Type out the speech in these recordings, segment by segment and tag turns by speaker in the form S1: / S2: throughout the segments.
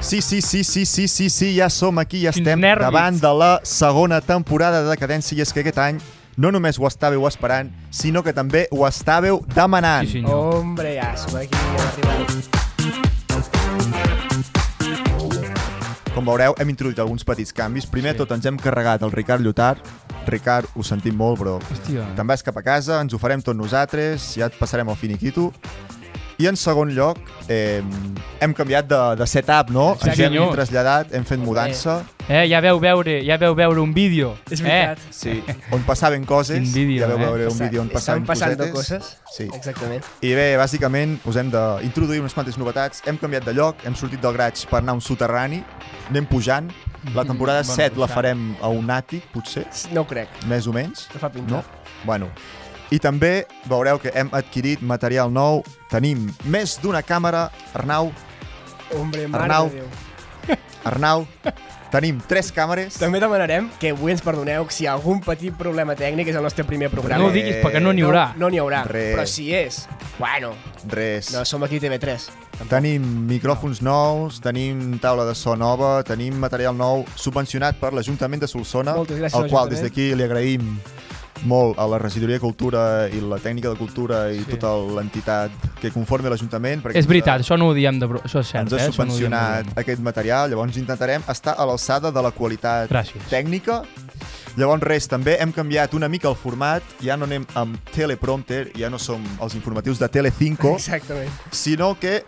S1: Sí, sí, sí, sí, sí, sí, sí, ja som aquí, ja
S2: Quins
S1: estem
S2: nervis.
S1: davant de la segona temporada de Decadència i és que aquest any no només ho estàveu esperant, sinó que també ho estàveu demanant.
S2: Sí, senyor.
S3: Hombre, ja som aquí, hem arribat.
S1: Com veureu, hem introduït alguns petits canvis. Primer sí. tot ens hem carregat el Ricard Llotar. Ricard, ho sentim molt, però
S2: Hòstia.
S1: te'n vas cap a casa, ens ho farem tot nosaltres, ja et passarem el finiquito. I en segon lloc, eh, hem canviat de, de setup, no?
S2: Exacte,
S1: ens hem
S2: senyor.
S1: traslladat, hem fet mudança,
S2: Eh, ja veu veure, ja veu veure un vídeo.
S3: És veritat.
S2: Eh,
S1: sí. on passaven coses,
S2: Quin vídeo,
S1: ja veu
S2: eh?
S1: veure un vídeo on passaven
S3: Estan passant
S1: cosetes.
S3: coses.
S1: Sí.
S3: Exactament.
S1: I bé, bàsicament us hem d'introduir unes quantes novetats. Hem canviat de lloc, hem sortit del graig per anar a un soterrani, anem pujant. La temporada
S2: Bueno,
S1: 7 la
S2: pujant.
S1: farem a un àtic, potser,
S3: No ho crec.
S1: més o menys.
S3: No fa pinta.
S1: No? Bueno. I també veureu que hem adquirit material nou. Tenim més d'una càmera. Arnau,
S3: Hombre, mare
S1: Arnau.
S3: de Déu.
S1: Arnau, tenim tres càmeres.
S3: També demanarem que avui ens perdoneu si hi ha algun petit problema tècnic és el nostre primer programa.
S2: Eh, no ho diguis, perquè no n'hi haurà.
S3: No n'hi haurà,
S1: Res.
S3: però si és, bueno,
S1: Res.
S3: no, som aquí TV3.
S1: Tenim micròfons nous, tenim taula de so nova, tenim material nou subvencionat per l'Ajuntament de Solsona,
S3: Moltes gràcies,
S1: al qual des
S3: Ajuntament.
S1: d'aquí li agraïm molt a la Regidoria de Cultura i la Tècnica de Cultura i
S2: Sí.
S1: tota l'entitat que conforma l'Ajuntament. perquè
S2: és veritat, això no ho diem de bro... Això és cert,
S1: Ens ha
S2: eh? Això no ho diem de
S1: subvencionat
S2: broma.
S1: aquest material, llavors intentarem estar a l'alçada de la qualitat
S2: Gràcies.
S1: tècnica. Llavors res, també hem canviat una mica el format, ja no anem amb teleprompter, ja no som els informatius de Telecinco,
S3: Exactament.
S1: sinó que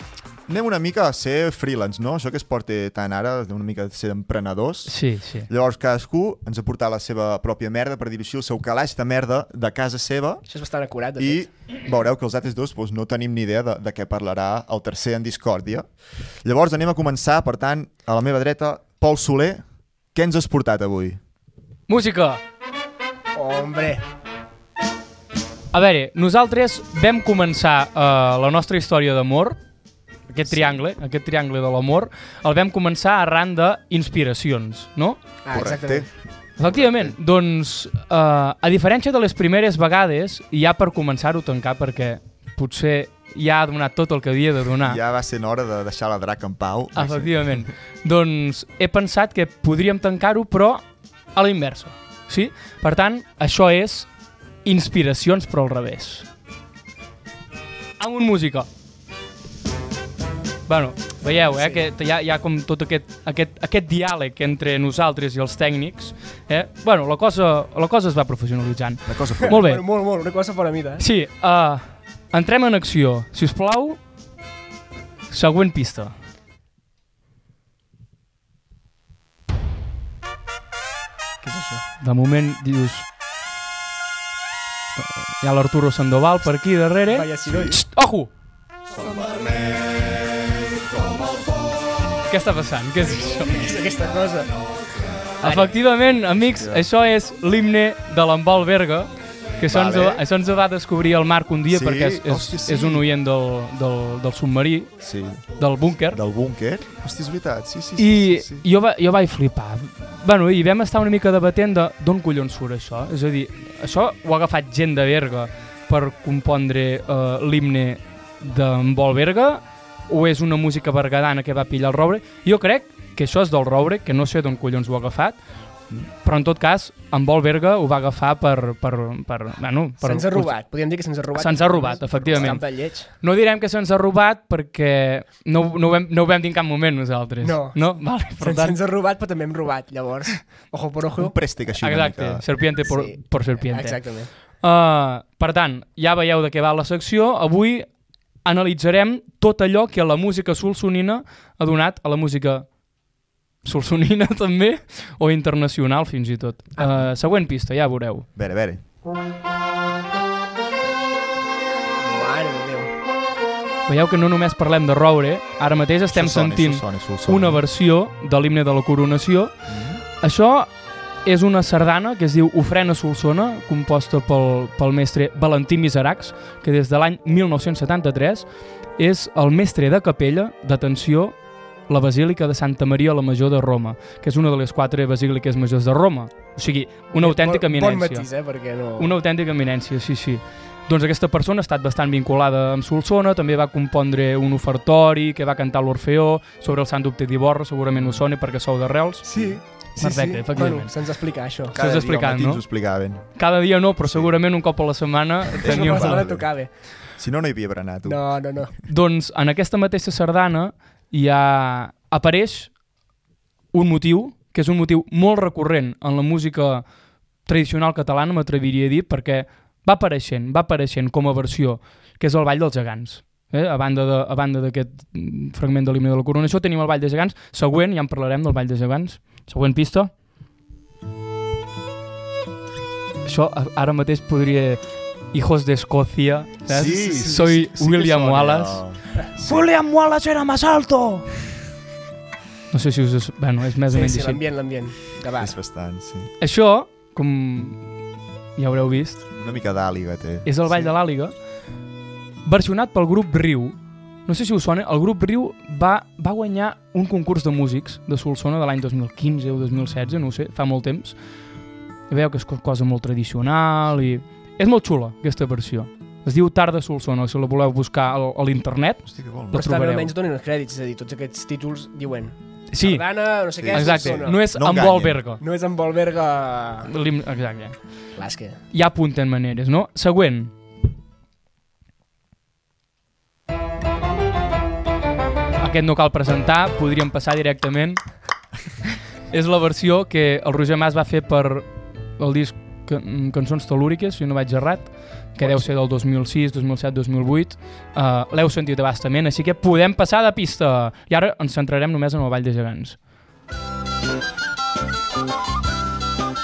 S1: anem una mica a ser freelance, no? Això que es porta tant ara, una mica a ser emprenedors.
S2: Sí, sí.
S1: Llavors cadascú ens ha portat la seva pròpia merda, per dir-ho així, el seu calaix de merda de casa seva
S3: Això és bastant acurat, de
S1: i
S3: fet.
S1: veureu que els altres dos doncs, no tenim ni idea de, de què parlarà el tercer en discòrdia. Llavors anem a començar, per tant, a la meva dreta, Pol Soler, què ens has portat avui?
S2: Música!
S3: Hombre,
S2: A veure, nosaltres vam començar eh, la nostra història d'amor, aquest triangle, aquest triangle de l'amor, el vam començar arran d'inspiracions, no?
S3: ah, exactament.
S2: Efectivament, doncs, eh, a diferència de les primeres vegades, i ja per començar-ho a tancar, perquè potser ja ha donat tot el que havia de
S3: Ah.
S2: donar,
S1: Ja va sent hora de deixar la drac en pau.
S2: efectivament, doncs he pensat que podríem tancar-ho, però a la inversa, sí? Per tant, això és inspiracions, però al revés. Amb un música. Bueno, veieu, eh, que hi ha, hi ha com tot aquest, aquest, aquest diàleg entre nosaltres i els tècnics. Eh? Bueno, la cosa, la cosa es va professionalitzant.
S1: La cosa
S2: Molt bé.
S3: Bueno, molt, molt, una cosa fora mida, eh?
S2: Sí, uh, entrem en acció. Si us plau, següent pista. Què és això? De moment dius... Hi ha l'Arturo Sandoval per aquí darrere.
S3: Vaya soroll.
S2: Xt, ojo! Què està passant? Què és això?
S3: És aquesta cosa.
S2: Efectivament, amics, això és l'himne de l'Embol Berga, que això, ens ho,
S1: Vale.
S2: això ens ho va descobrir el Marc un dia
S1: Sí,
S2: perquè és, és,
S1: hòstia, sí.
S2: és un oient del, del, del submarí,
S1: Sí,
S2: del búnquer,
S1: del búnquer. Hòstia, és veritat, sí, sí, sí.
S2: i
S1: sí, sí.
S2: jo, va, jo vaig flipar. Bueno, i vam estar una mica debatent de d'on collons surt això. És a dir, això ho ha agafat gent de Berga per compondre uh, l'himne d'Embol Berga o és una música bergadana que va pillar el Roure? Jo crec que això és del Roure, que no sé d'on collons ho ha agafat, però en tot cas, en Vol Berga ho va agafar per... per, per, bueno, per
S3: Se'ns ha robat, podríem dir que se'ns ha robat.
S2: Se'ns ha robat, efectivament.
S3: Estan tan lleig.
S2: No direm que se'ns ha robat perquè no, ho- no, ho vam, no ho vam dir en cap moment nosaltres.
S3: No.
S2: No? Vale, per
S3: Se'ns
S2: tant...
S3: se'ns ha robat, però també hem robat, llavors. Ojo por ojo.
S1: Un préstec així
S2: Exacte,
S1: una mica.
S2: serpiente por,
S3: Sí.
S2: por serpiente.
S3: Exactament.
S2: Uh, per tant, ja veieu de què va la secció. Avui analitzarem tot allò que la música solsonina ha donat a la música solsonina també, o internacional fins i tot. Uh, següent pista, ja veureu.
S1: A veure, a veure.
S3: Mare de Déu.
S2: Veieu que no només parlem de roure, ara mateix estem
S1: Solsona,
S2: sentint
S1: Solsona, Solsona.
S2: una versió de l'himne de la coronació. Això és una sardana que es diu Ofrena Solsona, composta pel, pel mestre Valentí Miseracs, que des de l'any 1973 és el mestre de capella, d'atenció, la Basílica de Santa Maria la Major de Roma, que és una de les quatre basíliques majors de Roma. O sigui, una autèntica
S3: bon, Bon
S2: eminència.
S3: matís, eh, perquè no...
S2: Una autèntica eminència, sí, sí. Doncs aquesta persona ha estat bastant vinculada amb Solsona, també va compondre un ofertori que va cantar l'Orfeó, sobre el Sant Dubte d'Iborra, segurament us sona perquè sou de Reus.
S3: Sí, sí,
S2: Perfecte,
S3: sí.
S2: efectivament.
S3: Bueno, se'ns explica això.
S2: Estàs explicant,
S1: dia al matí
S2: no?
S1: ens ho explicaven.
S2: Cada dia no, però segurament un cop a la setmana
S3: És una
S2: teniu...
S1: setmana.
S3: cosa que tocava.
S1: Si no, no hi havia berenar, tu.
S3: No, no, no.
S2: Doncs en aquesta mateixa sardana hi ha... apareix un motiu, que és un motiu molt recurrent en la música tradicional catalana, m'atreviria a dir, perquè va apareixent, va apareixent com a versió, que és el Ball dels Gegants. Eh? A banda de- a banda d'aquest mm, fragment de l'himne de la coronació tenim el Ball de Gegants. Següent, ja en parlarem del Ball de Gegants. Següent pista. Això a- ara mateix podria... Hijos de Escocia. saps? Soy
S1: que
S2: William
S1: sona.
S2: Wallace.
S1: Sí.
S2: William Wallace era más alto! No sé si us... Es... Bueno, és més o
S3: Sí,
S2: menys
S3: sí,
S2: així.
S3: l'ambient, l'ambient. Que va.
S1: És bastant, sí.
S2: Això, com ja haureu vist,
S1: Una mica d'àliga té.
S2: és el Ball de l'Àliga, versionat pel grup Riu. No sé si us sona, el grup Riu va, va guanyar un concurs de músics de Solsona de l'any 2015 o 2016, no ho sé, fa molt temps. I veieu que és co- cosa molt tradicional i... És molt xula, aquesta versió. Es diu Tarda Solsona, si la voleu buscar al- a l'internet.
S1: Hosti, que bo.
S2: Però
S3: Però estan
S2: trobareu.
S3: almenys donen els crèdits, és a dir, tots aquests títols diuen
S2: Sí,
S3: Sardana, no sé què,
S2: exacte.
S3: Solsona.
S2: No és
S1: No
S2: amb
S1: enganyen.
S2: Volberga.
S3: No és en Volverga...
S2: L'himne- Exacte.
S3: Clar, és que...
S2: ja apunten maneres, no? Següent. Aquest no cal presentar, podríem passar directament. És la versió que el Roger Mas va fer per el disc Ca- mm, Cançons Telúriques, si no vaig errat, que deu ser del 2006, 2007, 2008. Uh, L'heu sentit abastament, així que podem passar de pista. I ara ens centrarem només en el Vall de Gegants.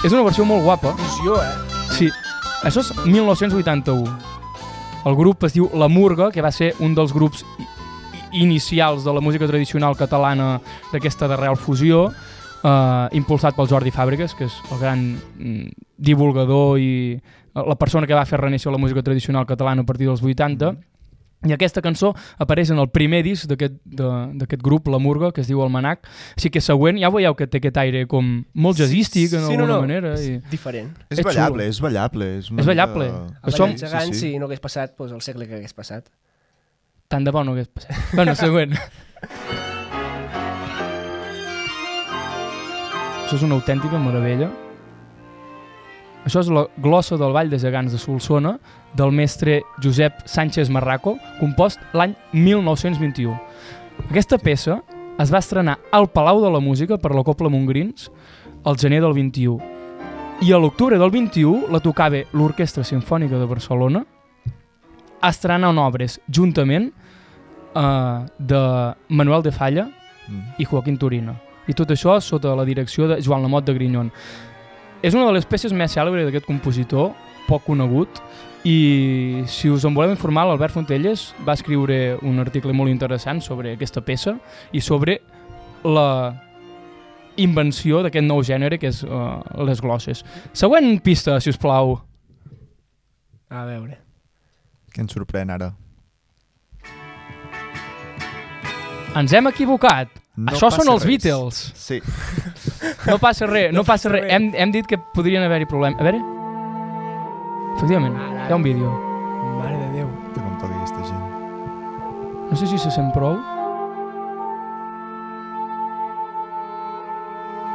S2: És una versió molt guapa.
S3: Fusió, eh?
S2: Sí, això és 1981. El grup es diu La Murga, que va ser un dels grups i- i- inicials de la música tradicional catalana d'aquesta d'arrel fusió, eh, impulsat pel Jordi Fàbregas, que és el gran mm, divulgador i eh, la persona que va fer reneixer la música tradicional catalana a partir dels 80. I aquesta cançó apareix en el primer disc d'aquest de- d'aquest grup, La Murga, que es diu El Manac. Així que següent, ja veieu que té aquest aire com molt jazzístic, en
S3: Sí, no,
S2: alguna
S3: no.
S2: manera. I...
S3: És diferent.
S1: És
S2: és
S1: ballable,
S2: xulo.
S1: és ballable. És, una
S2: És ballable.
S1: Mica...
S2: El
S3: El
S2: Això-
S3: Som... gegant, si no hagués passat, doncs el segle que hagués passat.
S2: Tant de bo no hagués passat. Bueno, següent. Això és una autèntica meravella. Això és la glossa del Vall de Gegants de Solsona del mestre Josep Sánchez Marraco, compost l'any 1921. Aquesta peça es va estrenar al Palau de la Música per la Copla Montgrins el gener del 21. I a l'octubre del 21 la tocava l'Orquestra Simfònica de Barcelona estrenant obres juntament eh, de Manuel de Falla
S1: Mm.
S2: i Joaquín Turina. I tot això sota la direcció de Joan Lamot de Grinyon. És una de les peces més cèlebres d'aquest compositor, poc conegut, i si us en voleu informar, l'Albert Fontelles va escriure un article molt interessant sobre aquesta peça i sobre la invenció d'aquest nou gènere que és uh, les glosses. Següent pista, si us plau.
S3: A veure.
S1: Que ens sorprèn ara.
S2: Ens hem equivocat.
S1: No
S2: Això
S1: passa
S2: són els
S1: res.
S2: Beatles.
S1: Sí.
S2: No passa res, no,
S3: No
S2: passa
S3: passa
S2: res.
S3: res.
S2: Hem, hem dit que podrien haver-hi problemes. A veure... Efectivament,
S3: Ah, Ara,
S2: hi ha un vídeo.
S3: Mare de Déu.
S1: Té com toca aquesta gent.
S2: No sé si se sent prou.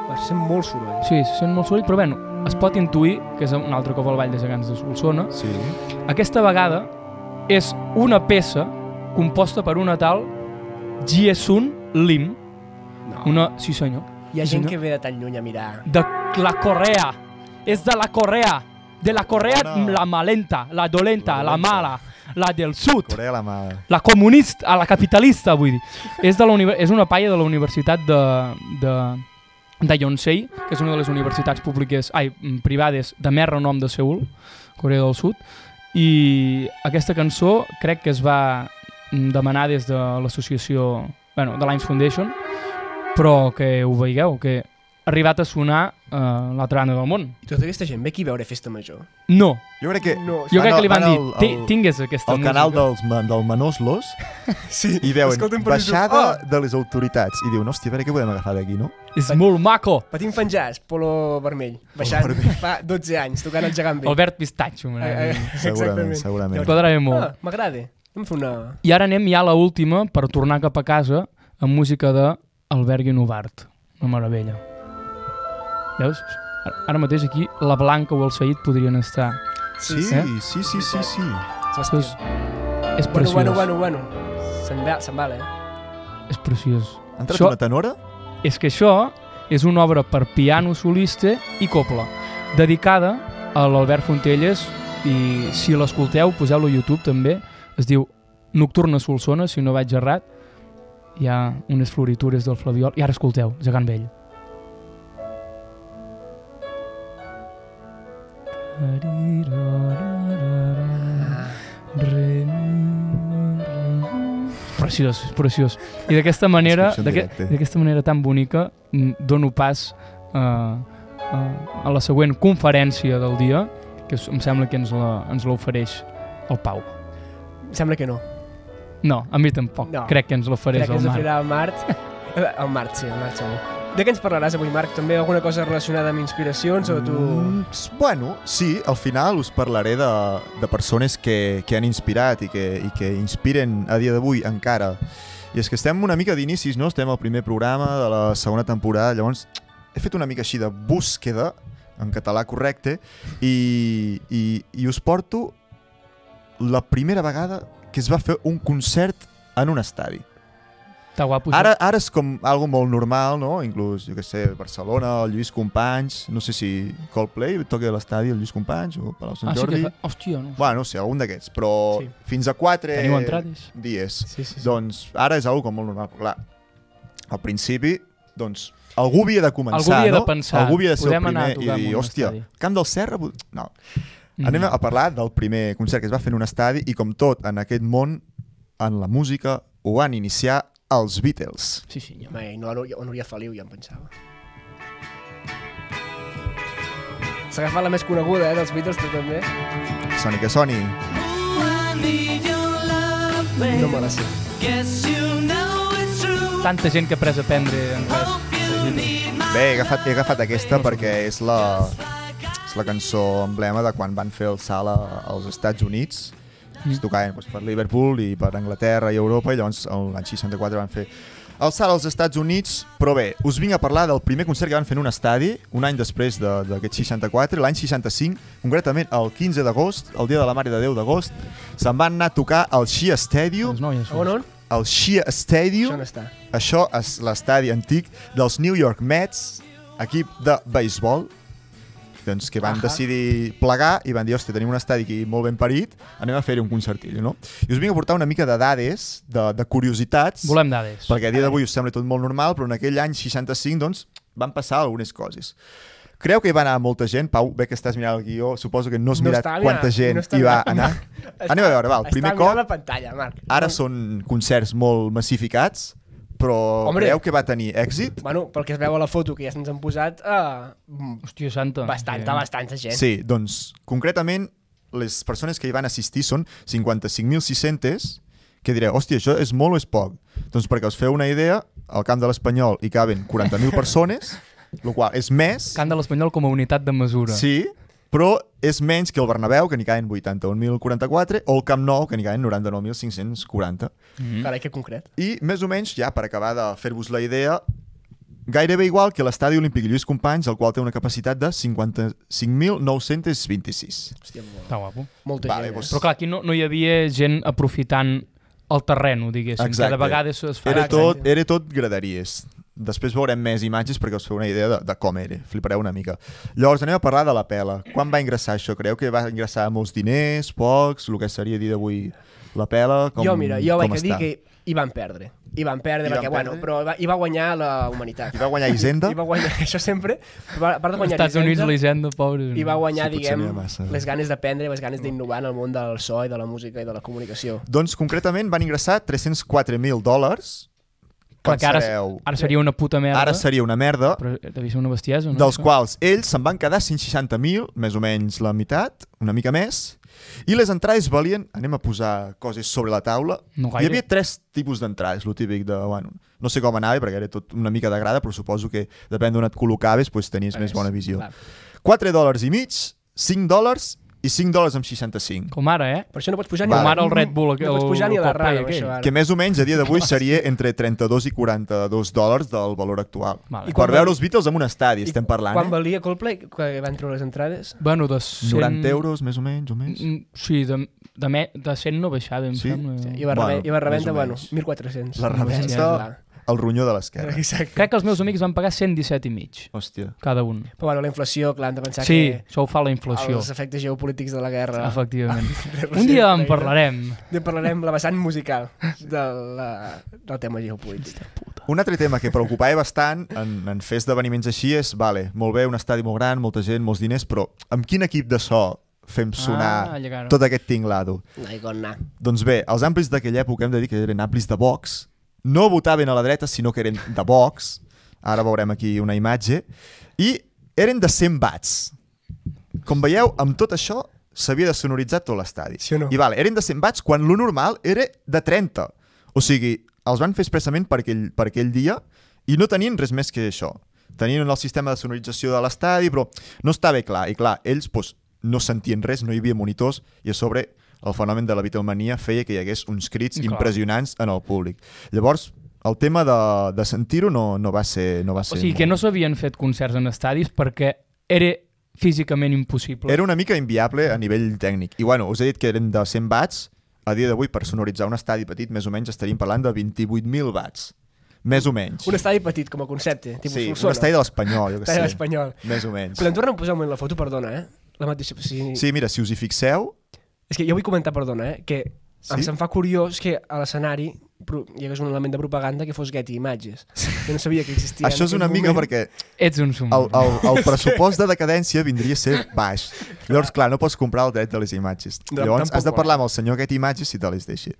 S3: Va ser molt soroll.
S2: Sí, se sent molt soroll, però bueno, es pot intuir que és un altre cop al Vall de Gegants de Solsona.
S1: Sí.
S2: Aquesta vegada és una peça composta per una tal Jiesun Lim,
S3: No.
S2: una, sí senyor,
S3: Hi ha
S2: Sí,
S3: gent
S2: no?
S3: que ve de tan lluny a mirar.
S2: de la Corea. És de la Corea. De la Corea
S1: Bona.
S2: la malenta, la dolenta, la,
S1: La dolenta.
S2: mala, la del sud.
S1: Corea la mà.
S2: La comunista, a la capitalista, vull dir. És, de la univer- és una paia de la universitat de, de, de Yonsei, que és una de les universitats públiques, ai, mm, privades de més renom de Seul, Corea del Sud, i aquesta cançó crec que es va mm, demanar des de l'associació, bueno, de l'Ines Foundation, però que ho veieu, que ha arribat a sonar eh, a l'altra banda del món.
S3: I tota aquesta gent ve aquí a veure Festa Major.
S2: No,
S1: Jo crec que...
S3: No,
S2: jo
S1: Van
S2: crec
S1: al-
S2: que li van
S1: van
S2: dir,
S1: al-
S2: "Ti-
S1: al-
S2: tingues aquesta
S1: Ah, El
S2: música.
S1: canal dels, ma- del Menors Los
S3: sí.
S1: i veuen
S3: Escolta, un Oh, per
S1: baixada
S3: YouTube.
S1: de Ah! les autoritats i diuen, hòstia, a veure què podem agafar d'aquí, no?
S2: És molt maco.
S3: Ah, Patim Fanjàs, Polo Vermell, baixant fa 12 anys, tocant el gegant bé.
S2: Albert Pistatxo.
S1: Eh,
S3: Ah, ah,
S2: m'agrada.
S1: Segurament,
S3: Exactament.
S1: segurament.
S2: Ens quadrava molt.
S3: Ah, M'agrada. Vam fer una...
S2: I ara anem ja a l'última per tornar cap a casa amb música de Albert Guinovart. Una meravella. Veus? Ara- Ara mateix aquí la Blanca o el Saïd podrien estar.
S1: Sí,
S2: sí.
S1: sí, sí, sí, sí.
S2: Això és, és
S3: Bueno,
S2: preciós.
S3: bueno, bueno, bueno. Se'n va, se'n val, eh?
S2: És preciós.
S1: Ha entrat
S2: Això-
S1: una tenora?
S2: És que això és una obra per piano solista i copla, dedicada a l'Albert Fontelles i si l'escolteu, poseu-lo a YouTube també, es diu Nocturna Solsona, si no vaig errat, hi ha unes floritures del Flaviol, i ara escolteu, Gegant Vell.
S3: Ah.
S2: Preciós, és preciós. I d'aquesta manera,
S1: Descripció en
S2: d'aquest-
S1: directe.
S2: d'aquesta manera tan bonica, mm, dono pas eh, a, a la següent conferència del dia, que es- em sembla que ens la- ens l'ofereix el Pau.
S3: Sembla que no.
S2: No, a mi tampoc.
S3: No.
S2: Crec que ens l'ofereix
S3: Crec que
S2: el
S3: ens
S2: Marc.
S3: oferirà el Mart. El Mart, sí, el Mart segur. De què ens parlaràs avui, Marc? També alguna cosa relacionada amb inspiracions o tu...
S1: Mm, s- bueno, sí, al final us parlaré de, de persones que, que han inspirat i que, i que inspiren a dia d'avui encara. I és que estem una mica d'inicis, no? Estem al primer programa de la segona temporada, llavors he fet una mica així de búsqueda, en català correcte, i, i, i us porto la primera vegada que es va fer un concert en un estadi.
S2: Està guapo. això.
S1: Ara, ara és com algo molt normal, no? Inclús, jo què sé, Barcelona, el Lluís Companys, no sé si Coldplay toca a l'estadi el Lluís Companys o Palau Sant
S2: ah, sí
S1: Jordi.
S2: que fa... Hòstia, no.
S1: Bueno, no sé, algun d'aquests, però
S3: Sí.
S1: sí. fins a 4
S2: Teniu entrades?
S1: dies.
S3: Sí, sí, sí.
S1: Doncs ara és algo com molt normal, però clar. Al principi, doncs, algú havia de començar,
S2: Algú havia
S1: no?
S2: de pensar,
S1: Algú havia de ser
S2: "Podem
S1: el
S2: anar a
S1: primer i
S2: tocar en
S1: dir,
S2: un
S1: hòstia,
S2: estadi."
S1: Camp del Serra... vol-" No,
S2: Mhm.
S1: Anem a parlar del primer concert que es va fer en un estadi i com tot en aquest món, en la música, ho van iniciar els Beatles.
S2: Sí, senyor.
S3: Home, i no, no, on hauria Feliu, ja em pensava. S'ha agafat la més coneguda, eh, dels Beatles, tu també.
S1: Soni que soni.
S3: No me la sé.
S2: Tanta gent que ha après a aprendre en res.
S1: Bé, he agafat, he agafat aquesta perquè és la, és la cançó emblema de quan van fer el salt a- als Estats Units. Es tocaven doncs, per Liverpool i per Anglaterra i Europa i llavors el- l'any 64 van fer el salt als Estats Units. Però bé, us vinc a parlar del primer concert que van fer en un estadi un any després de- d'aquest 64, l'any 65, concretament el 15 d'agost, el dia de la Mare de Déu d'agost, se'n van anar a tocar al Shea
S2: Les
S1: Stadium,
S2: noies.
S3: On, on?
S1: al Shea Stadium,
S3: Això on està?
S1: això és l'estadi antic dels New York Mets, equip de béisbol, doncs que van
S3: Ahà.
S1: decidir plegar i van dir, hòstia, tenim un estadi aquí molt ben parit, anem a fer-hi un concertillo, no? I us vinc a portar una mica de dades, de, de curiositats,
S2: Volem dades.
S1: perquè a dia d'avui us sembla tot molt normal, però en aquell any 65, doncs, van passar algunes coses. Creu que hi va anar molta gent? Pau, bé que estàs mirant el guió, suposo que no has
S3: No
S1: mirat
S3: està mirant,
S1: quanta gent
S3: no està
S1: hi va
S3: mirant.
S1: anar. Anem a veure, va, el primer
S3: està
S1: cop...
S3: mirant la pantalla, Marc.
S1: Ara són concerts molt massificats, però
S3: Hombre.
S1: Hombre. creieu que va tenir èxit?
S3: Bueno, pel que es veu a la foto que ja se'ns han posat, uh,
S2: Hòstia santa. Eh,
S3: bastanta, bastanta gent.
S1: Sí, doncs concretament les persones que hi van assistir són 55.600, que direu, hòstia, això és molt o és poc? Doncs perquè us feu una idea, al camp de l'Espanyol hi caben 40.000 persones, el qual és més,
S2: Cant de l'Espanyol com a unitat de mesura.
S1: sí, però és menys que el Bernabéu, que n'hi caen 81.044, o el Camp Nou, que n'hi caen 99.540.
S3: Carai, que concret.
S1: I més o menys, ja per acabar de fer-vos la idea, gairebé igual que l'estadi olímpic Lluís Companys, el qual té una capacitat de 55.926.
S3: Hòstia, molt-
S2: Està guapo.
S3: molta
S1: Vale,
S3: gent. eh.
S1: doncs-
S2: Però clar, aquí no, no hi havia gent aprofitant el terreno, diguéssim.
S1: Exacte.
S2: Cada vegada es es fa...
S1: Era
S3: Exacte.
S1: tot, era tot graderies. Després veurem més imatges perquè us feu una idea de, de com era. Flipareu una mica. Llavors, anem a parlar de la pela. Quan va ingressar això? Creieu que va ingressar molts diners, pocs, el que seria dir d'avui la pela? Com,
S3: jo, mira, jo vaig
S1: com
S3: a dir
S1: està?
S3: que hi van perdre. Hi van
S1: Hi
S3: perdre, hi
S1: van
S3: perquè, bueno,
S1: perdre?
S3: però hi va, hi va guanyar la humanitat.
S1: Hi va guanyar Hisenda?
S3: Hi va guanyar, això sempre. Però a part
S2: Als
S3: de guanyar
S2: Estats Units, l'Hisenda, pobre.
S3: I va guanyar,
S1: Sí, potser
S3: diguem,
S1: n'hi ha massa.
S3: les ganes d'aprendre, les ganes d'innovar en el món del so i de la música i de la comunicació.
S1: Doncs concretament van ingressar 304.000 dòlars,
S2: Clar, que ara,
S1: pensareu,
S2: ara seria una puta merda.
S1: ara seria una merda,
S2: Però devia ser una bestiesa, no?
S1: dels
S2: Això?
S1: quals ells se'n van quedar 160.000, més o menys la meitat, una mica més, i les entrades valien, anem a posar coses sobre la taula,
S2: No
S1: hi
S2: gaire.
S1: havia tres tipus d'entrades, lo típic de, bueno, no sé com anava, perquè era tot una mica de grada, però suposo que depèn d'on et col·locaves, doncs tenies més bona visió.
S3: Clar.
S1: 4 dòlars i mig, 5 dòlars i 5 dòlars amb 65.
S2: Com ara, eh?
S3: Per això no pots pujar ni
S1: Vale.
S2: Com ara el Red Bull,
S3: No pots pujar ni a
S2: el
S3: la
S2: Popeye
S3: ràdio,
S2: aquell.
S3: això, ara.
S1: Que més o menys a dia d'avui seria entre 32 i 42 dòlars del valor actual.
S2: Vale.
S1: I
S2: I
S1: per
S3: quan
S1: veure
S3: val-
S1: els Beatles en un estadi, estem parlant,
S3: Quan
S1: eh?
S3: valia Coldplay, que van treure les entrades?
S2: Bueno, de 100...
S1: 90 euros, més o menys, o més?
S2: Mm, Sí, de, de, me, de 100 no baixava, em
S1: Sí?
S2: sembla.
S3: Sí, I
S2: Sí,
S3: va, bueno,
S1: Mm. Bueno,
S3: i va
S1: més
S3: rebenta,
S1: o
S3: bueno,
S1: menys.
S3: 1.400.
S1: La rebenta al ronyó de l'esquerra.
S3: Exacte.
S2: Crec que els meus amics van pagar 117 i mig,
S1: Hòstia.
S2: cada un.
S3: Però bueno, la inflació, clar, hem de pensar
S2: Sí,
S3: que
S2: això ho fa la inflació,
S3: els eh, efectes geopolítics de la guerra.
S2: efectivament.
S3: de Rússia
S2: Un dia en
S3: i Ucraïna.
S2: parlarem.
S3: Ja parlarem la vessant musical de la, del tema geopolític.
S1: Un altre tema que preocupava bastant en, en fer esdeveniments així és, vale, molt bé, un estadi molt gran, molta gent, molts diners, però amb quin equip de so fem sonar
S2: Ah, llegaron.
S1: tot aquest tinglado?
S3: No hi con na.
S1: Doncs bé, els amplis d'aquella època hem de dir que eren amplis de Vox, no votaven a la dreta, sinó que eren de Vox, ara veurem aquí una imatge, i eren de 100 watts. Com veieu, amb tot això s'havia de sonoritzar tot l'estadi.
S3: Sí o no?
S1: I vale, eren de 100 watts quan lo normal era de 30. O sigui, els van fer expressament per aquell, per aquell dia i no tenien res més que això. Tenien el sistema de sonorització de l'estadi, però no estava clar. I clar, ells doncs, no sentien res, no hi havia monitors i a sobre el fenomen de la Beatlemania feia que hi hagués uns crits
S2: Clar.
S1: impressionants en el públic. Llavors, el tema de, de sentir-ho no, no va ser... No va
S2: O
S1: ser
S2: sigui, que
S1: molt-
S2: no s'havien fet concerts en estadis perquè era físicament impossible.
S1: Era una mica inviable a nivell tècnic. I bueno, us he dit que eren de 100 watts. A dia d'avui, per sonoritzar un estadi petit, més o menys estaríem parlant de 28.000 watts. Més o menys.
S3: Un estadi petit, com a concepte. Tipus
S1: sí, un
S3: Solsona.
S1: estadi de l'Espanyol, jo
S3: Estadi de
S1: que sé.
S3: l'Espanyol.
S1: Més o menys.
S3: Podem tornar a posar un moment la foto, perdona, eh? La mateixa... O sigui,
S1: Sí, mira, si us hi fixeu,
S3: És que jo vull comentar, perdona, eh? Que
S1: Sí?
S3: sí? em se'm fa curiós que a l'escenari pro- hi hagués un element de propaganda que fos Getty Images. Jo no sabia que existia. en
S1: això és
S3: aquell
S1: una mica
S3: moment.
S1: perquè
S2: Ets un sum.
S1: el, el, el pressupost de decadència vindria a ser baix. Llavors, clar, no pots comprar el dret de les imatges.
S3: No,
S1: Llavors,
S3: tampoc
S1: has de
S3: vol.
S1: parlar amb el senyor aquest imatges si te les deixi.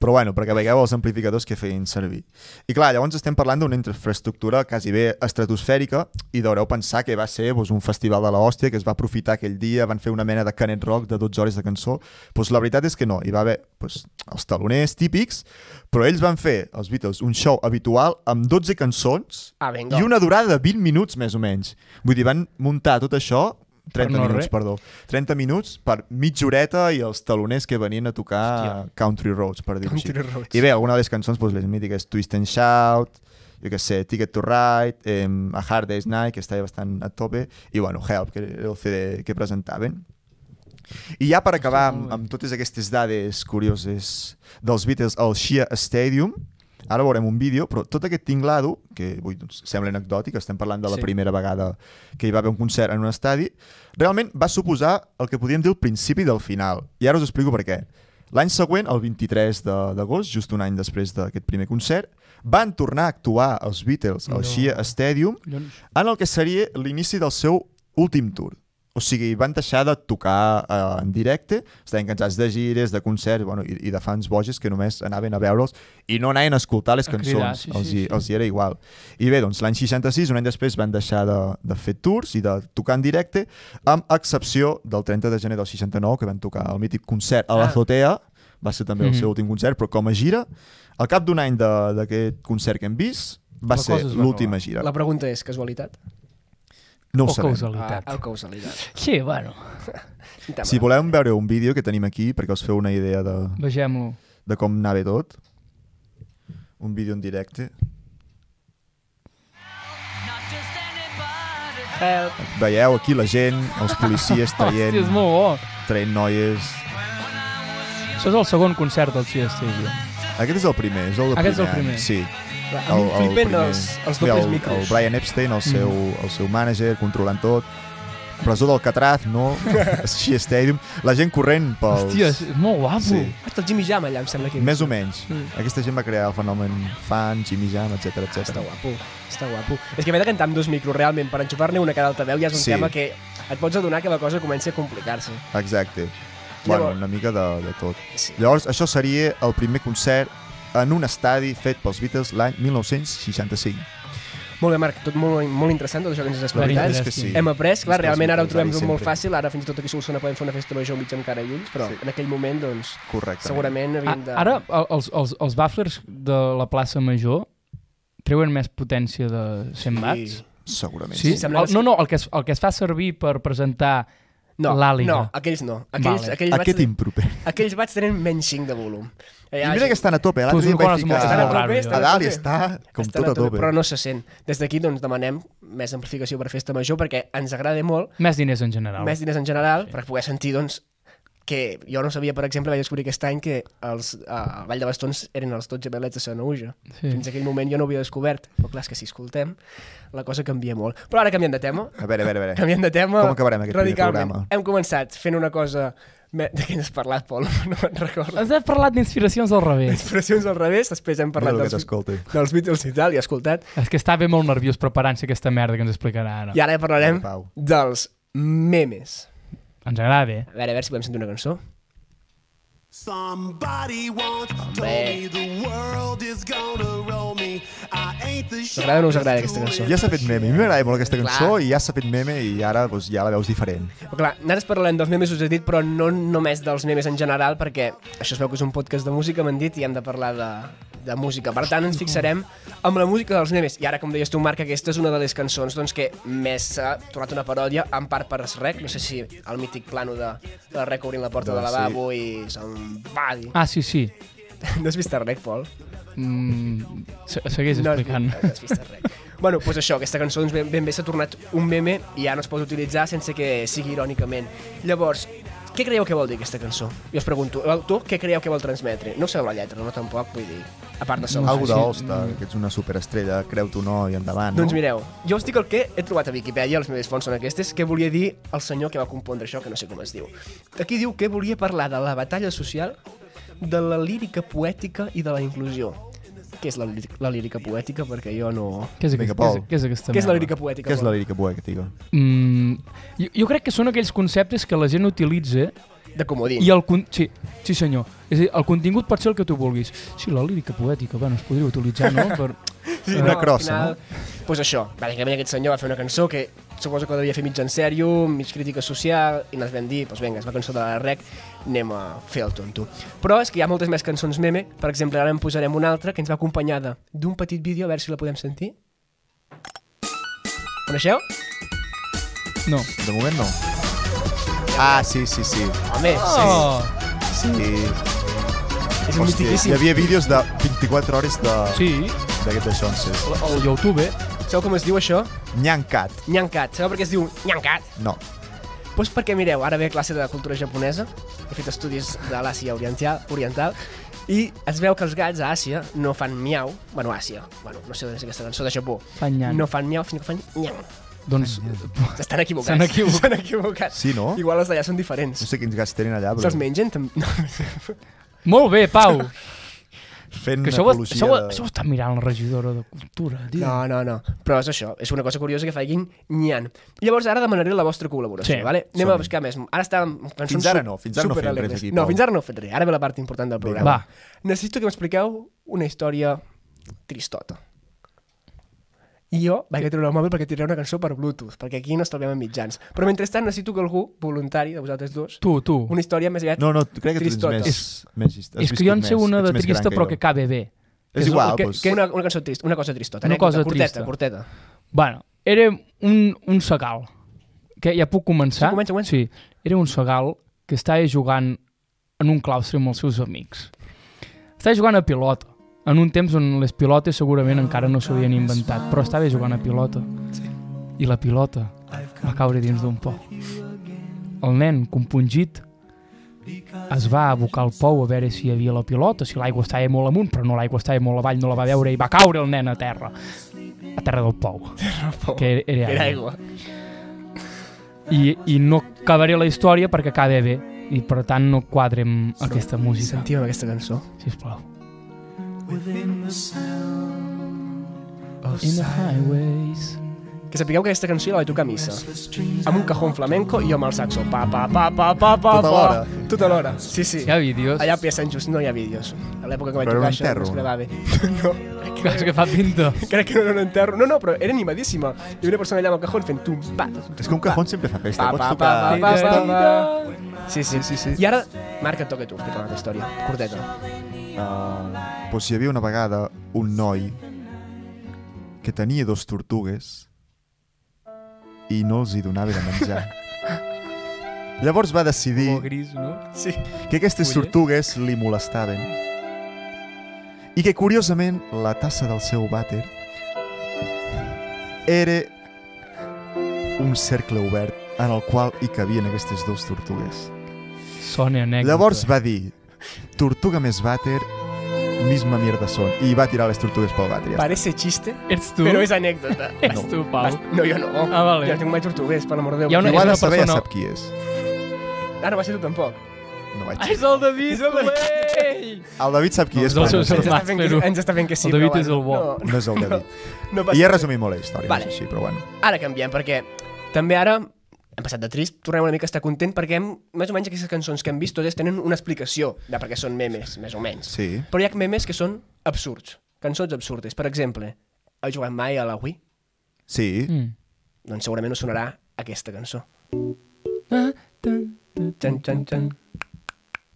S1: Però bueno, perquè veieu els amplificadors que feien servir. I clar, llavors estem parlant d'una infraestructura quasi bé estratosfèrica i deureu pensar que va ser doncs, un festival de l'hòstia que es va aprofitar aquell dia, van fer una mena de canet rock de 12 hores de cançó. Doncs la veritat és que no, hi va haver doncs, els taloners típics, però ells van fer, els Beatles, un show habitual amb 12 cançons
S3: Ah, vinga.
S1: i una durada de 20 minuts, més o menys. Vull dir, van muntar tot això... 30
S2: Per no
S1: minuts,
S2: res.
S1: perdó. 30 minuts per mitja horeta i els taloners que venien a tocar
S3: Hòstia.
S1: Country Roads, per dir-ho així.
S3: Country Roads.
S1: I bé, alguna de les cançons, doncs, les mítiques Twist and Shout, jo què sé, Ticket to Ride, eh, A Hard Day's Night, que estava bastant a tope, i bueno, Help, que era el CD que presentaven. I ja per acabar amb, amb totes aquestes dades curioses dels Beatles al Shea Stadium, ara veurem un vídeo, però tot aquest tinglado, que avui doncs, sembla anecdòtic, estem parlant de la
S3: Sí.
S1: sí. primera vegada que hi va haver un concert en un estadi, realment va suposar el que podíem dir el principi del final. I ara us explico per què. L'any següent, el 23 de- d'agost, just un any després d'aquest primer concert, van tornar a actuar els Beatles al
S2: No.
S1: no. Shea Stadium
S2: Collons.
S1: en el que seria l'inici del seu últim tour. O sigui, van deixar de tocar eh, en directe, estaven cansats de gires, de concerts bueno, i, i de fans boges que només anaven a veure'ls i no anaven a escoltar les
S2: A
S1: cançons.
S2: cridar, sí, sí,
S1: els, hi,
S2: sí.
S1: els hi era igual. I bé, doncs l'any 66, un any després, van deixar de, de fer tours i de tocar en directe, amb excepció del 30 de gener del 69, que van tocar el mític concert a
S3: Ah.
S1: l'Azotea, va ser també el
S2: Mhm.
S1: seu últim concert, però com a gira, al cap d'un any de- d'aquest concert que hem vist, va
S2: La cosa
S1: ser
S2: es va acabar.
S1: l'última gira.
S3: La pregunta és casualitat?
S1: No ho
S2: o
S1: sabem.
S2: causalitat.
S3: Ah, el causalitat.
S2: Sí, bueno,
S3: Tema.
S1: Si voleu veure un vídeo que tenim aquí perquè us feu una idea de,
S2: vegem-ho.
S1: de com anava tot, un vídeo en directe,
S3: Help.
S1: veieu aquí la gent, els policies traient,
S2: Hòstia, és molt bo.
S1: traient noies...
S2: Això és el segon concert del Sia Stadium.
S1: Aquest és el primer, és el, del
S2: Aquest és el
S1: any,
S2: primer.
S1: Sí,
S3: Va, A mi em flipen els, els
S1: Bé,
S3: dobles
S1: el,
S3: micros. Mm-hmm.
S1: El Brian Epstein, el seu, el seu mànager, controlant tot. Presó d'Alcatraz, no? Shea Stadium. La gent corrent pels...
S2: Hòstia, és és molt guapo.
S1: Sí.
S3: Ah, està el Jimmy Jam allà, em sembla que...
S1: Més o menys.
S3: Mm.
S2: Sí.
S1: Aquesta gent va crear el fenomen fan, Jimmy Jam, etc
S3: Està
S1: etc.
S3: guapo, està guapo. És que haver de cantar amb dos micros, realment, per enxufar-ne una a cada altaveu ja és un
S1: Sí.
S3: tema que et pots adonar que la cosa comença a complicar-se.
S1: Exacte.
S3: Llavors-
S1: Bueno, una mica de, de tot.
S3: Sí.
S1: Llavors, això seria el primer concert en un estadi fet pels Beatles l'any 1965.
S3: Molt bé, Marc, tot molt, molt interessant, tot això que ens has
S1: La veritat
S3: explicat.
S1: és que sí.
S3: Hem après, clar,
S1: Estàs
S3: realment ara ho
S1: molt
S3: trobem
S1: contrari
S3: molt
S1: sempre.
S3: fàcil, ara fins i tot aquí a Solsona podem fer una festa major mig amb cara i ulls, però
S1: Sí.
S3: en aquell moment, doncs,
S1: Correcte.
S3: segurament
S2: A,
S3: havíem de...
S2: ara, el- els, els, els bafflers de la plaça Major treuen més potència de 100 watts?
S1: Segurament.
S2: Sí?
S3: Sí,
S2: El,
S3: sembla que sí.
S2: no, no, el que, es, el que es fa servir per presentar...
S3: No,
S2: l'àliga.
S3: no, aquells no. Aquells,
S2: Vale.
S3: aquells,
S1: Aquest
S3: bats,
S1: improper.
S3: aquells bats tenen menys 5 de volum.
S1: I
S3: Eh, ah, Allà,
S1: mira que estan a tope.
S2: Tu,
S1: L'altre dia
S2: són
S1: vaig
S2: coses molt
S3: Estan
S1: ficar...
S3: a tope,
S2: rares,
S3: estan
S1: A
S3: a
S1: dalt i
S3: tope.
S1: està com
S3: Estan
S1: tot a tope.
S3: Però no se sent. Des d'aquí doncs, demanem més amplificació per festa major perquè ens agrada molt,
S2: Més diners en general.
S3: més diners en general, per poder sentir doncs, que jo no sabia, per exemple, vaig descobrir aquest any que els, eh, el Vall de Bastons eren els 12 velets de Sanauja.
S2: Sí.
S3: Fins aquell moment jo no ho havia descobert, però clar, és que si escoltem, la cosa canvia molt. Però ara canviant de tema,
S1: A veure, a veure, a veure.
S3: canviant de tema
S1: Ah, Com acabarem aquest primer
S3: radicalment.
S1: programa?
S3: Hem començat fent una cosa... me- De què n'has parlat, Pol? No me'n recordo.
S2: Ens has parlat d'inspiracions al revés.
S3: Inspiracions al revés, després hem
S1: Mira
S3: parlat
S1: el que
S3: dels,
S1: t'escolta.
S3: dels Beatles i tal, i he escoltat.
S2: És que estava molt nerviós preparant-se aquesta merda que ens explicarà ara.
S3: I ara parlarem
S1: Ah. Pau.
S3: dels memes.
S2: Ens agrada, eh?
S3: A veure, a veure si podem sentir una cançó.
S4: Somebody once told
S3: Hombre.
S4: me the world is gonna roll me. I ain't the
S3: Us agrada o no us agrada
S4: sharpest
S3: aquesta cançó?
S1: Ja s'ha fet meme. A mi m'agrada molt aquesta cançó
S3: Clar.
S1: i ja s'ha fet meme i ara doncs, ja la veus diferent.
S3: Però clar, nosaltres parlarem dels memes, us he dit, però no només dels memes en general, perquè això es veu que és un podcast de música, m'han dit, i hem de parlar de, de música. Per tant, ens fixarem amb la música dels memes. I ara, com deies tu, Marc, aquesta és una de les cançons doncs, que més s'ha tornat una paròdia, en part per es rec, no sé si el mític plano de, de rec obrint la porta
S1: Doncs
S3: del lavabo i se'n va dir.
S2: Ah, sí, sí.
S3: No has vist el rec, Pol?
S2: Mm, se- segueix
S3: No has-
S2: explicant.
S3: No has vist res. bueno, doncs això, aquesta cançó doncs ben, ben bé s'ha tornat un meme i ja no es pot utilitzar sense que sigui irònicament. Llavors, què creieu que vol dir aquesta cançó? Jo us pregunto, l'autor què creieu que vol transmetre? No ho sabeu la lletra, no tampoc, vull dir, a part de
S1: No,
S3: sol.
S1: Algo
S2: sí,
S1: d'Olstar, que ets una superestrella, creu-t'ho o no i endavant,
S3: Doncs
S1: no?
S3: mireu, jo us dic el que he trobat a Viquipèdia, les meves fonts són aquestes, que volia dir el senyor que va compondre això, que no sé com es diu. Aquí diu que volia parlar de la batalla social, de la lírica poètica i de la inclusió. Què és la, lírica- la lírica poètica? Perquè jo no...
S2: Què és,
S1: Vinga,
S2: aquest, què,
S1: Pol.
S2: és, què és aquesta
S3: Què és la
S2: merda?
S3: lírica poètica?
S1: Què és la
S3: Pol?
S1: lírica poètica?
S2: Mm, jo, jo crec que són aquells conceptes que la gent utilitza
S3: De comodín.
S2: i el... Con sí, sí, senyor. És a dir, el contingut pot ser el que tu vulguis. Sí, la lírica poètica, bueno, es podria utilitzar, no? Per...
S1: Sí,
S2: Ah.
S1: una crossa, no?
S3: Doncs pues això, bàsicament aquest senyor va fer una cançó que suposo que devia fer mig en sèrio, mig crítica social, i ens vam dir, doncs pues vinga, és la cançó de la rec, anem a fer el tonto. Però és que hi ha moltes més cançons meme, per exemple, ara en posarem una altra que ens va acompanyada d'un petit vídeo, a veure si la podem sentir. Coneixeu?
S2: No.
S1: De moment no. Ah, sí, sí, sí.
S3: Home,
S2: Oh,
S1: sí.
S3: sí, és
S1: Hòstia, hi
S3: mitiquíssim.
S1: havia vídeos de 24 hores de-
S2: sí,
S1: d'aquest de Johnson.
S2: el, el YouTube. eh?
S3: Sabeu com es diu això?
S1: Nyancat.
S3: Nyancat. Sabeu per què es diu Nyancat?
S1: No.
S3: Pues Doncs perquè, mireu, ara ve classe de cultura japonesa, he fet estudis de l'Àsia oriental, oriental, i es veu que els gats a Àsia no fan miau, bueno, Àsia, bueno, no sé d'on és aquesta cançó de Japó,
S2: Fan nyan.
S3: no fan miau, sinó que fan nyang.
S2: Doncs,
S3: S'estan equivocats.
S2: S'han equivocat.
S3: S'han equivocat.
S1: Sí, no?
S3: Igual els d'allà són diferents.
S1: No sé quins gats tenen allà, però...
S3: Se'ls mengen, també. No.
S2: molt bé, Pau.
S1: Fent
S2: Que això ho,
S1: apologia
S2: això, ho,
S1: de-
S2: això ho està mirant la regidora de cultura, tio.
S3: No, no, no. Però és això, és una cosa curiosa que facin nyan. Llavors ara demanaré la vostra col·laboració,
S2: Sí,
S3: vale? Anem a
S1: som-hi.
S3: buscar més. Ara estàvem... amb cançons
S1: Fins ara
S3: su-
S1: no, fins ara no fem
S3: superalegres.
S1: res aquí,
S3: No,
S1: Pau.
S3: fins ara no he fet res. Ara ve la part important del programa.
S2: va.
S3: Necessito que m'expliqueu una història tristota. I jo vaig a treure el mòbil perquè tiraré una cançó per Bluetooth, perquè aquí no estalviem en mitjans. Però mentrestant necessito que algú, voluntari de vosaltres dos,
S2: Tu, tu.
S3: una història més aviat...
S1: No, no, crec que tu tens
S3: Tristota.
S1: més...
S2: És-
S1: més hist- has
S2: És que jo en
S1: viscut
S2: sé
S1: més,
S2: una
S1: ets
S2: de
S1: més
S2: trista,
S1: gran
S2: però
S1: jo.
S2: que cabe bé.
S1: És igual,
S2: que,
S1: doncs.
S2: que,
S3: Una, una cançó trista, una cosa tristota,
S2: Una
S3: anècdota,
S2: cosa
S3: curteta,
S2: trista.
S3: curteta.
S2: Bueno, era un, un segal. Que ja puc començar?
S3: Sí, comença, comença.
S2: Sí, era un segal que estava jugant en un claustre amb els seus amics. Estava jugant a pilota, en un temps on les pilotes segurament encara no s'havien inventat, però estava jugant a pilota. I la pilota va caure dins d'un pou. El nen, compungit, es va abocar al pou a veure si hi havia la pilota, si l'aigua estava molt amunt, però no l'aigua estava molt avall, no la va veure i va caure el nen a terra. A terra del pou. Que era, era,
S3: Era aigua.
S2: i, i no acabaré la història perquè acaba bé i per tant no quadrem aquesta música
S3: Sentim aquesta cançó.
S2: sisplau
S3: Oh,
S2: In the highways
S3: que sapigueu que aquesta cançó la vaig tocar a missa. Amb un cajón flamenco i jo amb el saxo. Pa, pa, pa, pa, pa, pa,
S1: Tota l'hora.
S3: pa. Tota l'hora. Sí, sí.
S2: Hi ha vídeos.
S3: Allà a Pia Sant Just no hi ha vídeos. A l'època que vaig
S1: Però era un
S3: tocar això no
S1: enterro.
S3: es gravava. No,
S2: Que, que fa pinta.
S3: crec que no era un enterro. No, no, però era animadíssima. Hi havia una persona allà amb el cajón fent tum, pa, tum,
S1: És que un cajón sempre fa festa,
S3: Pa,
S1: pots
S3: pa,
S1: tocar...
S3: pa, pa,
S1: festa.
S3: pa, pa. Sí, sí, sí, sí. I ara, Marc, et toca tu explicar la història, curteta.
S1: Uh, doncs hi havia una vegada un noi que tenia dos tortugues i no els hi donava de menjar. Llavors va decidir
S2: Molt gris, no?
S3: Sí.
S1: que aquestes
S2: Oye.
S1: tortugues li molestaven i que, curiosament, la tassa del seu vàter era un cercle obert en el qual hi cabien aquestes dues tortugues.
S2: Sona anècdota.
S1: Llavors va dir, tortuga més vàter, misma mierda son, i va tirar les tortugues pel vàter. Ja.
S3: Parece chiste,
S2: Ets tu? Eh,
S3: tu? però és anècdota.
S2: Ets tu, Pau.
S3: No, jo no.
S2: Ah, vale.
S3: Jo no tinc mai tortugues, per l'amor de Déu.
S2: Hi ha
S1: Qui
S2: una-
S1: ho ha
S2: és
S1: de saber
S2: persona-
S1: ja sap qui és.
S3: Ah, no va ser tu tampoc.
S1: No vaig.
S2: Ah, és el David, colei!
S1: El David sap qui
S2: No,
S1: és,
S2: no,
S1: però
S2: no,
S1: no, és
S2: no,
S3: Ens
S1: el-
S3: està
S2: Mas,
S3: fent que,
S2: però-
S3: ens està fent que sí,
S2: el David
S3: però
S2: és el bo.
S3: bueno,
S1: no és el David.
S3: No, no passa
S1: I he
S3: res.
S1: resumit molt la història,
S3: Vale.
S1: vale. així, però bueno.
S3: Ara canviem, perquè també ara hem passat de trist, tornem una mica a estar content, perquè hem, més o menys aquestes cançons que hem vist totes tenen una explicació de per què són memes, més o menys.
S1: Sí.
S3: Però hi ha memes que són absurds, cançons absurdes. Per exemple, heu jugat mai a la Wii?
S1: Sí,
S2: Mm.
S3: Doncs segurament us sonarà aquesta cançó.
S2: Ah, tan, tan,
S3: Tan, tan, tan.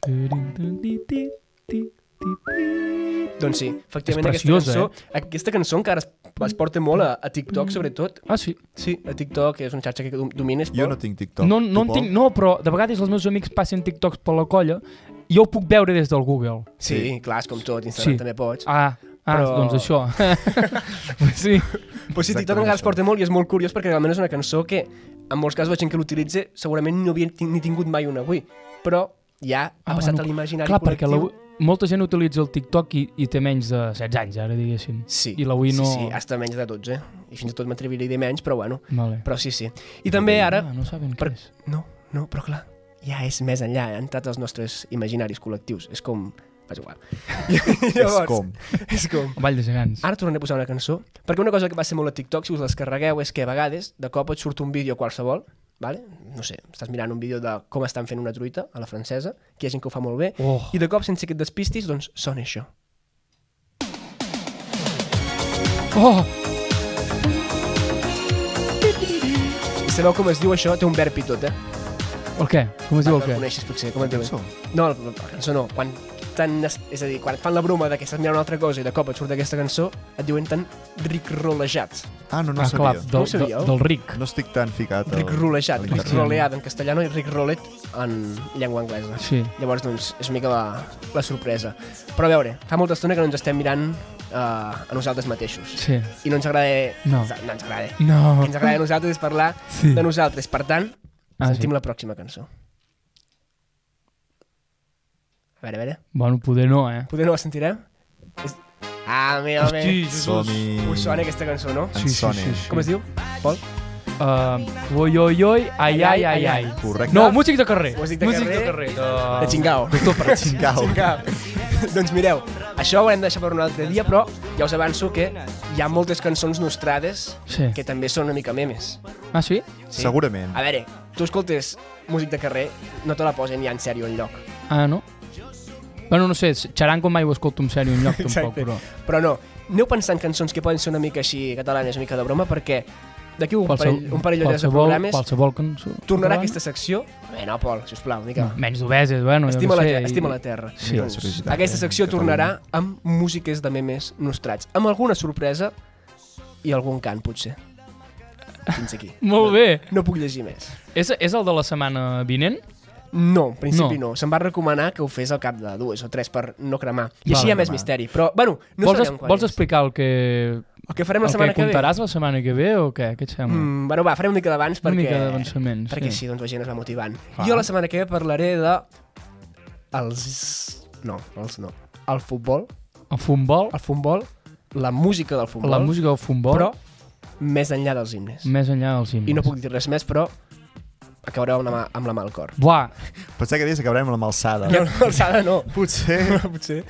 S2: Tirin, tan, ti, ti, ti, ti, ti.
S3: Doncs sí, efectivament
S2: És preciosa,
S3: aquesta cançó, eh? aquesta cançó encara es, es porta molt a, a TikTok, sobretot.
S2: Ah, sí.
S3: Sí, a TikTok, que és una xarxa que dom- domines.
S1: jo no tinc TikTok.
S2: Mm. No, no,
S1: Tu,
S2: en
S1: Pol?
S2: tinc, no, però de vegades els meus amics passen TikToks per la colla i jo ho puc veure des del Google.
S3: Sí,
S1: Sí.
S3: clar, és com tot, Instagram
S2: Sí.
S3: sí. també pots.
S2: Ah, ah
S3: Però-
S2: però... doncs això. Pues sí.
S3: Però sí, TikTok
S1: Exactament
S3: encara es
S1: això.
S3: porta molt i és molt curiós perquè realment és una cançó que en molts casos la gent que l'utilitza segurament no havia tin- ni tingut mai una avui, però ja ha
S2: Ah,
S3: passat
S2: bueno,
S3: a l'imaginari
S2: Clar, perquè la,
S3: col·lectiu.
S2: molta gent utilitza el TikTok i, i té menys de 16 anys, ara diguéssim.
S3: Sí,
S2: I la Wii no...
S3: sí, sí, hasta menys de 12, i fins i tot m'atreviria a dir menys, però bueno,
S2: Vale.
S3: però sí, sí. I també ara...
S2: Ah, no saben
S3: Per-
S2: què és.
S3: No, no, però clar, ja és més enllà, ha entrat als nostres imaginaris col·lectius, és com... És igual.
S1: És com.
S3: És com...
S2: El Ball de gegants.
S3: Ara tornaré a posar una cançó, perquè una cosa que va ser molt a TikTok, si us descarregueu, és que a vegades, de cop et surt un vídeo qualsevol, vale? no sé, estàs mirant un vídeo de com estan fent una truita a la francesa, que hi ha gent que ho fa molt bé,
S2: Oh.
S3: i de cop, sense que et despistis, doncs sona això.
S2: Oh!
S3: I sabeu com es diu això? Té un verb i tot, eh?
S2: El què? Com es diu el
S3: No el
S2: què?
S3: coneixes, potser, com et diuen?
S1: Cançó.
S3: No, la, la cançó no. Quan tan, és a dir, quan et fan la broma de que estàs mirant una altra cosa i de cop et surt aquesta cançó, et diuen tan ricrolejat.
S1: Ah, no, no
S2: ah,
S1: ah,
S2: clar,
S1: sabia.
S2: del,
S3: No oh. ho
S2: del,
S3: sabíeu?
S2: del ric.
S1: No estic tan ficat. al- a
S3: Ricrolejat,
S1: l'internet.
S3: ricroleat en castellano i ricrolet en llengua anglesa.
S2: Sí.
S3: Llavors, doncs, és una mica la, la sorpresa. Però a veure, fa molta estona que no ens estem mirant eh, a nosaltres mateixos.
S2: Sí.
S3: I no ens agrada...
S2: No.
S3: No ens agrada. El
S2: No.
S3: que ens agrada a nosaltres és parlar
S2: Sí.
S3: de nosaltres. Per tant,
S2: Ah, sí.
S3: sentim la pròxima cançó. A veure, a veure.
S2: Bueno, poder no, eh?
S3: Poder no la sentirem? És... Ah, meu,
S2: Hosti,
S3: home.
S1: Som-hi.
S3: Us sona aquesta cançó, no?
S1: En Sony.
S3: Com es diu? Pol?
S2: Uh, oi, oi, oi, ai, ai, ai, ai.
S1: Correcte.
S2: No, músic de carrer.
S3: Músic de carrer.
S2: De, carrer. doncs.
S3: De xingao.
S2: Doctor Prat.
S1: Xingau.
S3: doncs mireu, això ho haurem de deixar per un altre dia, però ja us avanço que hi ha moltes cançons nostrades
S2: Sí.
S3: que també són una mica memes.
S2: Ah, sí?
S3: Sí.
S1: Segurament.
S3: A veure, tu escoltes músic de carrer, no te la posen ja en sèrio enlloc.
S2: Ah, no? Bueno, no sé, xarango mai ho escolto en sèrio enlloc, tampoc, però...
S3: Però no, aneu pensant cançons que poden ser una mica així catalanes, una mica de broma, perquè d'aquí un
S2: Qualsevol-
S3: parell, un parell d'hores de
S2: qualsevol,
S3: programes
S2: Qualsevol cançó.
S3: tornarà aquesta secció... Bé, no, Pol, sisplau, una mica...
S2: No, menys d'obeses, bueno,
S3: Estima,
S2: jo no
S3: la,
S2: sé.
S3: te- estima la Terra.
S2: Sí.
S1: Mira, la seriositat,
S3: Aquesta
S1: eh,
S3: secció
S1: Catalunya.
S3: tornarà amb músiques de memes nostrats, amb alguna sorpresa i algun cant, potser. Fins aquí.
S2: Molt bé.
S3: No puc llegir més.
S2: És, és el de la setmana vinent?
S3: No, en principi no. no. Se'm va recomanar que ho fes al cap de dues o tres per no cremar. I
S2: Val,
S3: així hi ha més
S1: cremar.
S3: misteri. Però, bueno, no
S2: vols, es,
S3: sabrem quan
S2: vols
S3: és.
S2: explicar el que,
S3: El que farem la
S2: el que
S3: setmana que, ve?
S2: contaràs la setmana que ve o què? Què et sembla?
S3: Mm, bueno, va, farem una mica d'abans
S2: Una
S3: perquè...
S2: mica d'avançament,
S3: Perquè
S2: sí.
S3: així, doncs, la gent es va motivant.
S2: Clar.
S3: Jo la setmana que ve parlaré de... Els... No, els no. El futbol,
S2: El futbol,
S3: el futbol, la música del futbol.
S2: la música del futbol, Mm.
S3: però més enllà dels himnes.
S2: més enllà dels himnes.
S3: I no puc dir res més, però acabareu amb la mà, amb la mà al cor.
S2: Buah,
S1: Pensava que deies que acabarem amb l'alçada.
S3: No, no, alçada no.
S1: Potser...
S3: Potser.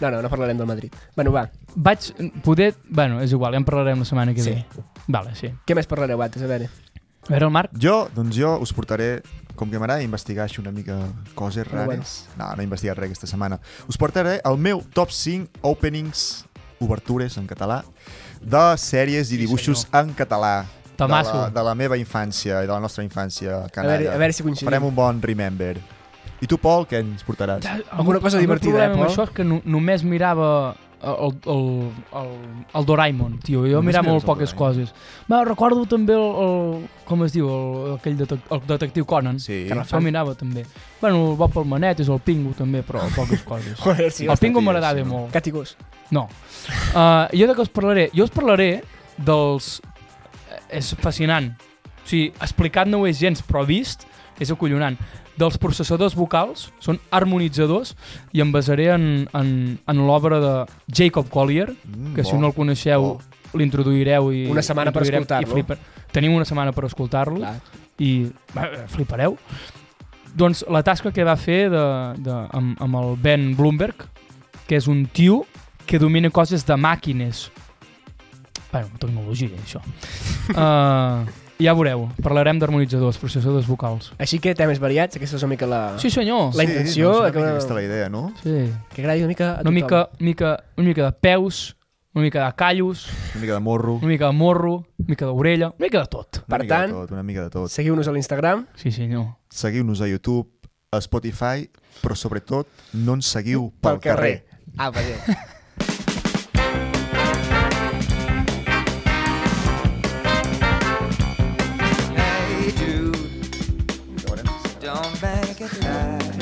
S3: No, no, no parlarem del Madrid. Bueno, va,
S2: Vaig poder... Bueno, és igual, ja en parlarem la setmana que
S3: Sí.
S2: ve. Vale, sí.
S3: què més parlareu, Bates? A veure,
S2: A veure, el Marc,
S1: Jo, doncs jo us portaré, com que m'agrada investigar així una mica coses
S3: Però
S1: rares. No, no he investigat res aquesta setmana. Us portaré el meu top 5 openings, obertures en català, de sèries i dibuixos en català.
S2: Tomasso.
S1: De la, de la meva infància i de la nostra infància
S3: a
S1: canalla.
S3: veure, a veure si coincidim.
S1: Farem un bon remember. I tu, Pol, què ens portaràs?
S3: Alguna cosa divertida,
S2: El meu problema
S3: eh,
S2: amb
S3: Pol?
S2: això és que no, només mirava el, el, el, el Doraemon, tio. Jo
S1: Només
S2: mirava
S1: mires
S2: molt
S1: el
S2: poques
S1: Doraemon.
S2: coses. Va, recordo també el, el com es diu, el, aquell detec, el detectiu Conan.
S1: Sí.
S2: Que el mirava també. Bueno, el Bob Palmanet és el Pingu també, però poques coses.
S3: Joder, sí.
S2: el Pingu
S1: tia,
S2: m'agradava
S1: sí, no?
S2: molt.
S3: Cat i gos.
S2: No. Uh, jo de què us parlaré? Jo us parlaré dels... eh, És fascinant. O sigui, explicat no ho és gens, però vist és acollonant. Dels processadors vocals, són harmonitzadors, i em basaré en, en, en l'obra de Jacob Collier,
S1: Mm,
S2: que si no el coneixeu
S1: bo.
S2: l'introduireu i...
S3: Una setmana per
S2: introduirem i
S3: escoltar-lo.
S2: flipar- Teniu una setmana per escoltar-lo
S3: Clar.
S2: i eh, flipareu. Doncs la tasca que va fer de, de, amb, amb el Ben Bloomberg, que és un tio que domina coses de màquines. Bueno, tecnologia, això. uh, ja veureu, parlarem d'harmonitzadors, processadors vocals.
S3: Així que temes variats, aquesta és una mica la...
S2: Sí, senyor.
S3: La
S1: Sí, No,
S3: intenció,
S1: és una
S3: que-
S1: mica aquesta la idea, no?
S2: Sí.
S3: Que agradi una mica a
S2: Una
S3: tothom.
S2: mica, mica, una mica de peus, una mica de callos,
S1: Una mica de morro.
S2: una mica de morro, una mica d'orella, una mica de tot.
S1: Una
S3: Per
S1: mica
S3: tant-
S1: de tot, una mica de tot.
S3: Seguiu-nos a l'Instagram.
S2: Sí, senyor.
S1: Seguiu-nos a YouTube, a Spotify, però sobretot no ens seguiu pel, carrer.
S3: Ah, per Déu.
S5: Hey dude, don't make it bad.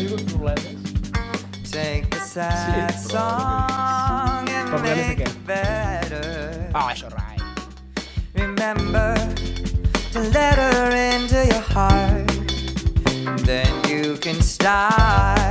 S5: Take the sad song
S3: Però
S5: and
S3: el problema és
S5: make
S3: que-
S5: it better.
S3: Ah, això, rai.
S5: Remember to let her into your heart. Then you can start